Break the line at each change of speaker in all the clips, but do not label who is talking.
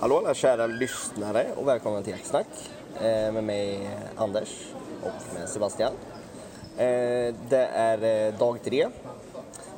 Hallå alla kära lyssnare och välkomna till Jacksnack eh, med mig Anders och med Sebastian. Eh, Det är eh, dag tre,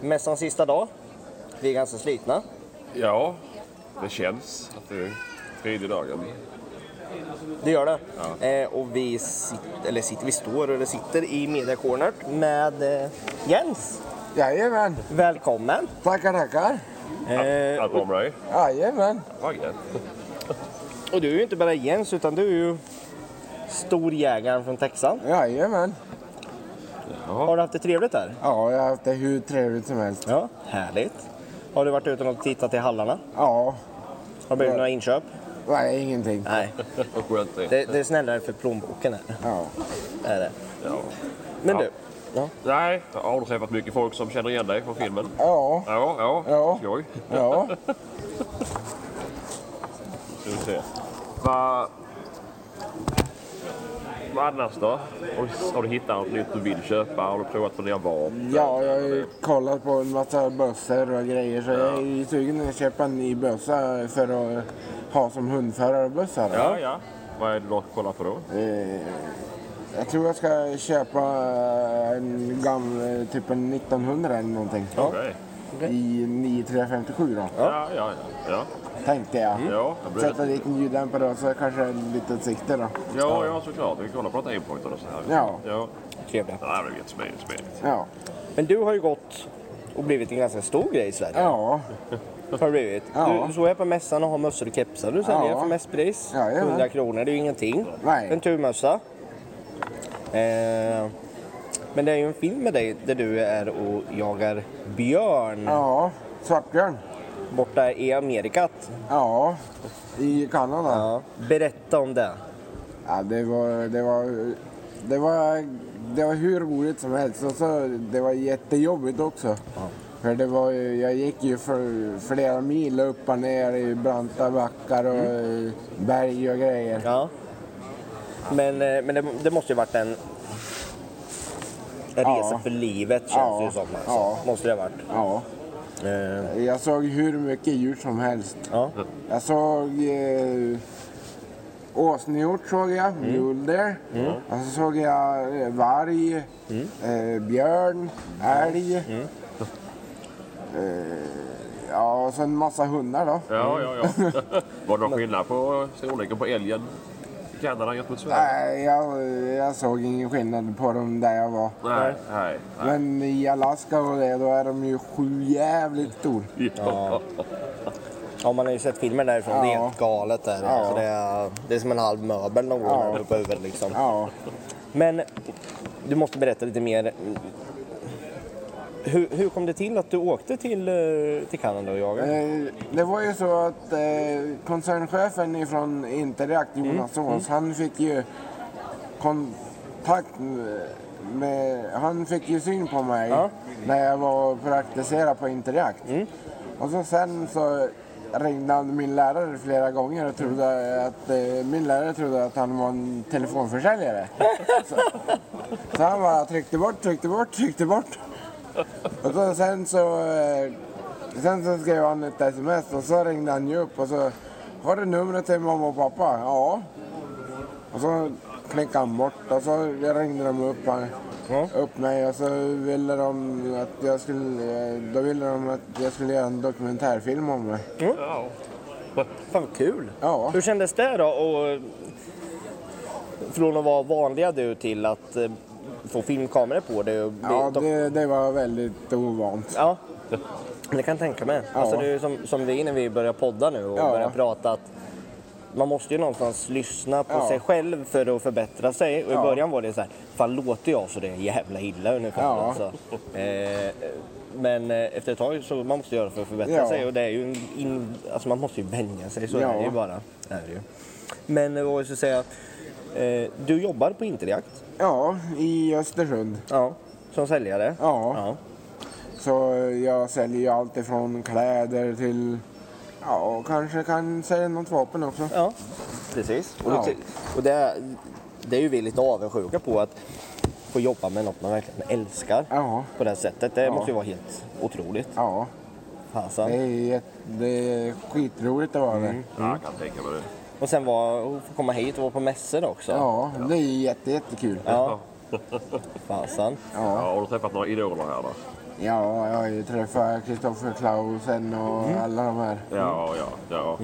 mässans sista dag. Vi är ganska slitna.
Ja, det känns att det är tredje dagen.
Det gör det. Eh, Och vi, sitter, eller sitter, vi står eller sitter i Media Corner med eh, Jens.
Jajamän,
Välkommen!
tackar tackar.
Eh,
Allt bra med dig?
Jajamän.
Vad gött.
Och du är ju inte bara Jens utan du är ju storjägaren från Texan.
Jajamän.
Har du haft det trevligt där?
Ja, jag har haft det hur trevligt som helst.
Ja. Härligt. Har du varit ute och tittat i hallarna?
Ja,
Har du blivit några inköp?
nej ingenting.
Nej,
Vad skönt det är.
det, det är snällare för plånboken här.
Ja.
Är det.
Ja.
Men
Ja.
du,
Nej, har du träffat mycket folk som känner igen dig från filmen?
Ja,
Ja, ja.
Ja.
Skoj.
ja.
Ska vi se. Vad... Vad annars då? Har du- Har du hittat något nytt du vill köpa? Har du provat på nya vapen?
Ja, jag har ju kollat på en massa bössor och grejer så jag är ju sugen att köpa en ny bössa för att ha som hundförarbössa. då.
Ja, ja. Vad är det du kollar på då?
Eh, Jag tror jag ska köpa en gammal, typ en 1900 eller någonting.
Okej.
I 9357 då,
Ja, ja, ja. Ja,
tänkte jag.
Mm. ja. Jag blir...
Sätta dit en ljuddämpare och så kanske ett litet sikte då.
ja, ja såklart. Vi kollar på detta aimpointer och så här.
Ja.
ja.
trevliga.
Ja, det blir jättesmidigt. smidigt.
Ja.
Men du har ju gått och blivit en ganska stor grej i Sverige.
Ja,
Har du blivit.
Ja.
Du står här på mässan och har mössor och kepsar du säljer
Ja.
för mässpris.
Ja, jajamän.
100 kronor, det är ju ingenting.
Nej.
En turmössa. Eh, men det är ju en film med dig där du är och jagar björn
ja. Svartbjörn.
borta i Amerikat.
Ja. I Kanada. Ja.
Berätta om det.
det var... Det var... Det var, det var hur roligt som helst och så det var jättejobbigt också. För det var ju, jag gick ju för flera mil upp och ner i branta backar och eh, berg och grejer.
Mm. Ja. Men, eh, men det, det måste ju varit en, en
Ja.
resa för livet känns
Ja.
det ju som. Alltså.
Ja.
Måste det ha varit.
Ja.
Eh,
Jag såg hur mycket djur som helst.
ja.
Jag såg eh, åsnehjort såg jag, mjulder. Och så såg jag eh, varg, eh, björn, älg. Eh, ja, och så en massa hundar då.
Ja, ja, ja. Var det någon skillnad på storleken på älgen i Kanada gentemot Sverige?
Nej, jag, jag såg ingen skillnad på dem där jag var.
Nej. Nej. nej.
Men i Alaska och det, då är de ju sju jävligt stor.
Ja.
ja, man har ju sett filmer därifrån. Det är
Ja.
helt galet där. Alltså, det, är, det är som en halv möbel någon gång när de är på huvudet liksom.
Ja,
Men du måste berätta lite mer. Hur, hur kom det till att du åkte till, eh, till Kanada och jagade?
eh, det var ju så att eh, koncernchefen ifrån Interact, Jonas Ås, han fick ju kontakt med- med... Han fick ju syn på mig
Ja.
när jag var och praktiserade på Interact. Och så sen så ringde han min lärare flera gånger och trodde att, eh, min lärare trodde att han var en telefonförsäljare. så, så han bara tryckte bort, tryckte bort, tryckte bort. Och så, sen så... Eh, sen så skrev han ett sms och så ringde han ju upp och så... Har du numret till mamma och pappa? Ja. Och så klickade han bort och så ringde de upp,
Ja.
upp mig och så ville de att jag skulle... eh, Då ville de att jag skulle göra en dokumentärfilm om mig.
Ja.
Fan vad kul!
Ja.
Hur kändes det då? Och, från att vara vanliga du till att eh, få filmkamera på dig? Och bli
Ja,
dock-
det, det var väldigt ovant.
ja. Det kan jag tänka mig.
Ja.
Alltså, det är ju som, som vi när vi börjar podda nu och
Ja.
börjar prata att man måste ju någonstans lyssna på
Ja.
sig själv för att förbättra sig. Och i
Ja.
början var det så här, fan låter jag så det är jävla illa ungefär.
Ja.
Alltså. Eh, men eh, efter ett tag så man måste göra för att förbättra
Ja.
sig och det är ju en in, alltså man måste ju vänja sig så
Ja.
är det ju bara. Det är det ju. Men eh, vad jag skulle säga, eh, du jobbar på Interjakt
Ja, i Östersund.
ja. som säljare.
Ja. Så jag säljer ju allt ifrån kläder till... Ja, och kanske kan sälja något vapen också.
Ja, precis. Och,
Ja.
det, och det, det är ju vi lite avundsjuka på att få jobba med något man verkligen älskar
Ja.
på det här sättet. Det
Ja.
måste ju vara helt otroligt.
Ja. Det
fasen.
är, jätte- det är skitroligt att vara där.
Ja, jag kan tänka mig det.
Och sen var, och få komma hit och vara på mässor också.
Ja, det är jätte, jättekul.
Ja. Fasen.
Ja,
Ja.
har du träffat några idoler här då?
ja, jag har ju träffat Kristoffer Klausen och alla de här.
Ja, ja, ja.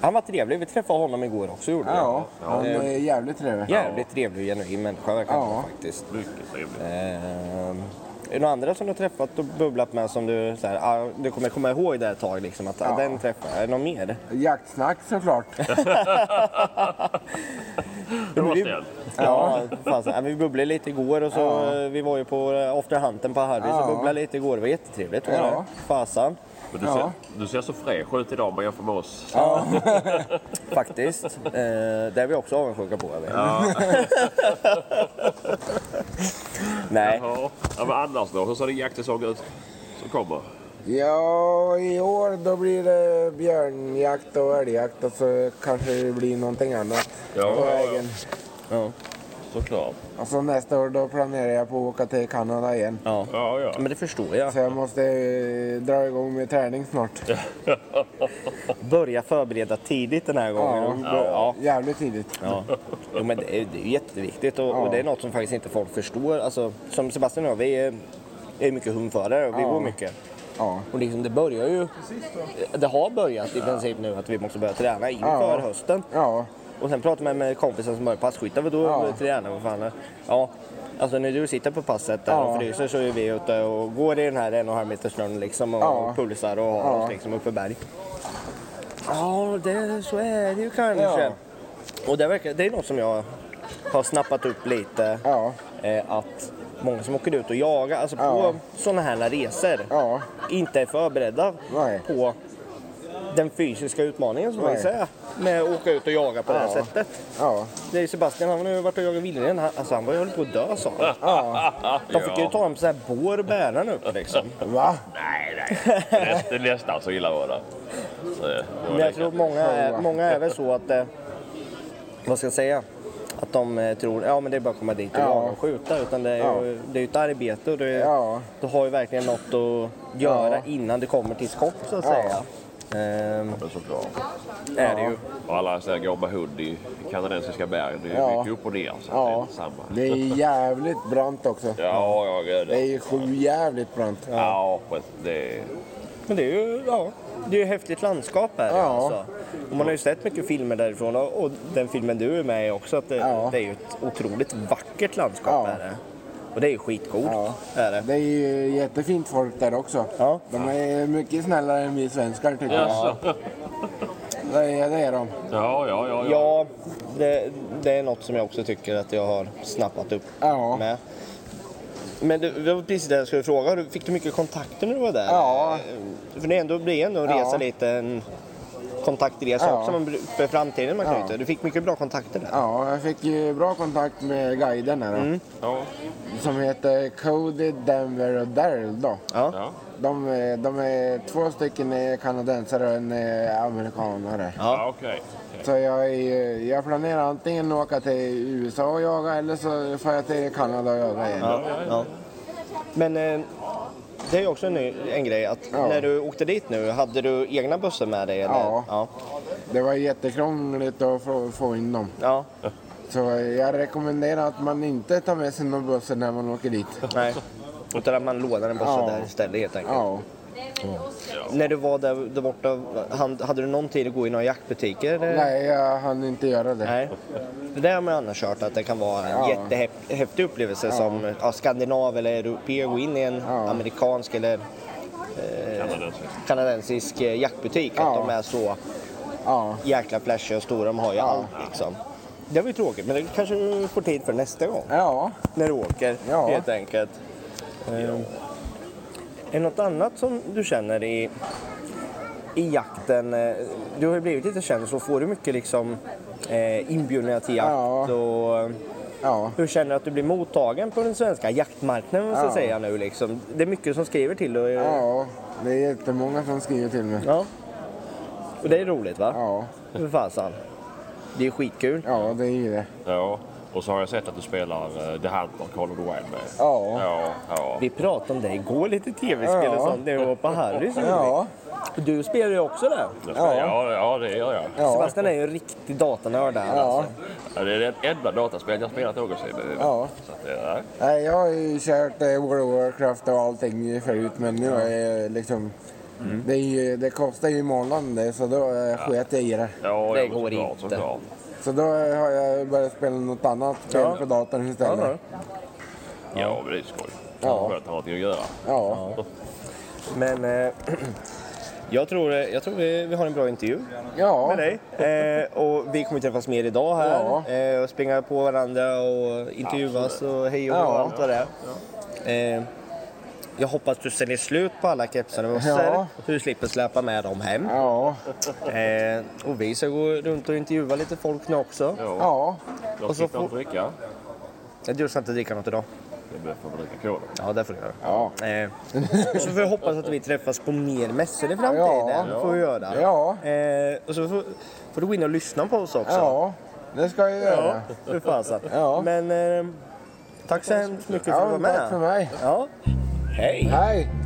Han var trevlig. Vi träffade honom igår också. Gjorde vi.
Ja, han är jävligt trevlig.
Jävligt trevlig och genuin människa verkar
Ja.
han faktiskt.
Mycket trevligt.
Ehm, är det några andra som du har träffat och bubblat med som du, så här, ah, du kommer komma ihåg det här ett tag? Liksom, att, ah,
Ja.
den träffade jag. Är det någon mer?
Jaktsnack såklart.
Det var snällt.
Ja, fan, så här, vi bubblade lite igår och så eh, vi var ju på eh, after hunten på Harrys och
Ja.
bubblade lite igår. Det var jättetrevligt. Var
Ja.
det? Fasan,
Men du,
Ja.
ser, du ser så fräsch ut idag om man jämför med oss.
faktiskt. Eh, det är vi också avundsjuka på. Jag vet. Nej,
Ja, ja, men annars då? Hur ser din jaktsäsong ut som kommer?
Ja, i år då blir det björnjakt och älgjakt och så kanske det blir någonting annat
Ja,
på
ja, ja.
vägen.
ja.
Såklart.
Och så nästa år då planerar jag på att åka till Kanada igen.
Ja.
Ja, ja.
men det förstår jag.
Så jag måste eh, dra igång med träning snart.
Börja förbereda tidigt den här gången.
Ja.
Ja.
Jävligt tidigt.
Ja. Jo, men det är, det är ju jätteviktigt och, och det är något som faktiskt inte folk förstår. Alltså, som Sebastian och jag, vi är, är mycket hundförare och vi
Ja.
går mycket.
Ja.
Och liksom, det börjar ju... Det har börjat i princip nu att vi måste börja träna inför
Ja.
hösten.
Ja.
Och sen pratar man med kompisen som börjar passkytta, vadå
Ja.
ja. träna, vad fan. är- Ja. Alltså när du sitter på passet där
Ja.
och fryser så är vi ute och går i den här en och en halv meter snön liksom och
Ja.
pulsar och har
Ja.
oss liksom uppe i berg. Ja, det, så är det ju kanske.
Ja.
Och det, verkar, det är något som jag har snappat upp lite.
Ja.
Eh, att många som åker ut och jagar, alltså
Ja.
på sådana här resor,
Ja.
inte är förberedda
Nej.
på den fysiska utmaningen som man
Nej.
säger med att åka ut och jaga på det här
Ja.
sättet.
Ja.
Det är Sebastian, han har nu varit och jagat vildren. Han- Alltså han var ju höll på att dö sa han.
Ja.
De fick ju ta honom så här bår och bära honom upp liksom.
Va?
Nej, nej. Det är- Det är nästan så illa var det. Så, eh, det var
Men jag
lika.
tror att många är, många är väl så att, eh, vad ska jag säga, att de eh, tror ja men det är bara att komma dit och
Ja.
jaga och skjuta. Utan det är ju det är ju ett arbete och det är,
Ja.
du har ju verkligen något att göra
Ja.
innan det kommer till skott så att
Ja.
säga. Ehm,
Men såklart.
är det ju.
Och alla så här går med hund i kanadensiska bergen. Det är
Ja.
mycket upp och ner. Så det är
Ja.
inte samma.
Det är jävligt brant också.
Ja, ja, gud.
Det är ju sju jävligt brant.
Ja, precis. Det är...
Men det är ju, ja, det är ju häftigt landskap här.
Ja.
Alltså. Och man har ju sett mycket filmer därifrån och och den filmen du är med i också. Att det,
Ja.
det är ju ett otroligt vackert landskap
Ja.
är det. Och det är ju skitcoolt.
Ja.
Är det.
Det är ju jättefint folk där också.
Ja.
De är mycket snällare än vi svenskar tycker jag.
Jaså?
Det är, det är de.
Ja, ja, ja. ja.
Ja, det, det är något som jag också tycker att jag har snappat upp
Ja.
med. Men det, det var precis det jag skulle fråga. Har du- Fick du mycket kontakter när du var där?
Ja.
Eh, För det är ändå, blir ändå en
Ja.
resa lite, en kontaktresa
Ja.
också man- för framtiden man
Ja.
knyter. Du fick mycket bra kontakter där.
Ja, jag fick ju bra kontakt med guiden här då.
Mm. ja.
Som heter Cody, Denver och Daryl då.
Ja.
ja.
De, är- de är två stycken är kanadensare och en är amerikanare.
ja okej.
Så jag, är- jag planerar antingen att åka till USA och jaga eller så får jag till Kanada och jaga igen.
Ja, ja. Men eh, det är ju också en, ny, en grej att
Ja.
när du åkte dit nu, hade du egna bussar med dig? Eller?
Ja.
ja.
Det var jättekrångligt att få, få in dem.
Ja,
Så jag rekommenderar att man inte tar med sig någon buss när man åker dit.
nej. Utan att man lånar en buss
Ja.
där istället helt enkelt.
Ja.
När du var där, där borta, han, hade du någon tid att gå i några jaktbutiker? eller?
Nej, jag hann inte göra det.
Nej. Det där har man annars hört att det kan vara en
Ja.
jättehäftig upplevelse som ja, skandinav eller europé gå in i en
Ja.
amerikansk eller
Kanadensiska.
kanadensisk eh, jaktbutik. Att
Ja.
de är så
Ja.
jäkla flashiga och stora. De har ju allt liksom. Det var ju tråkigt, men det kanske du får tid för nästa gång
Ja.
när du åker
Ja.
helt enkelt. Ehm, Är det något annat som du känner i, i jakten? Eh, Du har ju blivit lite känd så får du mycket liksom eh, inbjudningar till jakt.
Ja.
Och, eh,
Ja.
hur känner du att du blir mottagen på den svenska jaktmarknaden? måste jag
Ja.
Säga nu, liksom? Det är mycket som skriver till dig.
Ja. Det är jättemånga som skriver till mig.
Ja. Och det är roligt va?
Ja.
För fasen. Det är skitkul.
Ja, det är ju det.
Ja. Och så har jag sett att du spelar eh, The Hunt och Call of the Wild med.
Ja.
ja, ja.
Vi pratade om det igår, lite tv-spel och
Ja.
sånt, när vi var på Harrys.
Ja,
Du spelar ju också det.
Jag spelar- ja. ja, det gör jag.
ja,
Sebastian är ju en riktig datanörd där.
ja.
Alltså.
Ja, Det är det enda dataspel jag spelat någonsin.
Ja.
Så att, ja.
Nej, jag har ju kört eh, World of Warcraft och allting förut men nu är jag liksom...
Mm.
Det, är ju, det kostar ju i månaden det, så då eh, sket jag i det.
Ja,
Det
ja,
går
såklart,
inte.
Såklart.
Så då eh, har jag börjat spela något annat spel
Ja.
på datorn istället.
Ja.
Ja, men det är skoj.
Ja.
Skönt att ha någonting att göra.
Ja.
Men eh, jag tror, eh, jag tror vi, vi har en bra intervju
Ja.
med dig. Eh, och vi kommer träffas mer idag här
Ja.
eh, och springa på varandra och intervjuas och hej och hå och
Ja.
allt vad det är. Eh, jag hoppas du säljer slut på alla kepsar och mössor.
Ja.
Du slipper släpa med dem hem.
Ja.
Eh, och vi ska gå runt och intervjua lite folk nu också.
Ja.
Ja.
Jag
Och så
tittar
får-
inte dricka.
Du ska inte dricka något idag.
Jag behöver få dricka cola.
Ja, det får du göra.
Ja.
Eh, så får vi hoppas att vi träffas på mer mässor i framtiden.
Ja.
får vi göra.
Ja.
Eh, och så får, får du gå in och lyssna på oss också.
Ja. Det ska jag göra.
Ja, för fasen.
Ja.
Men eh, tack så hemskt mycket för att du var
Ja, tack för
med.
mig.
Ja. Hej!
Hej!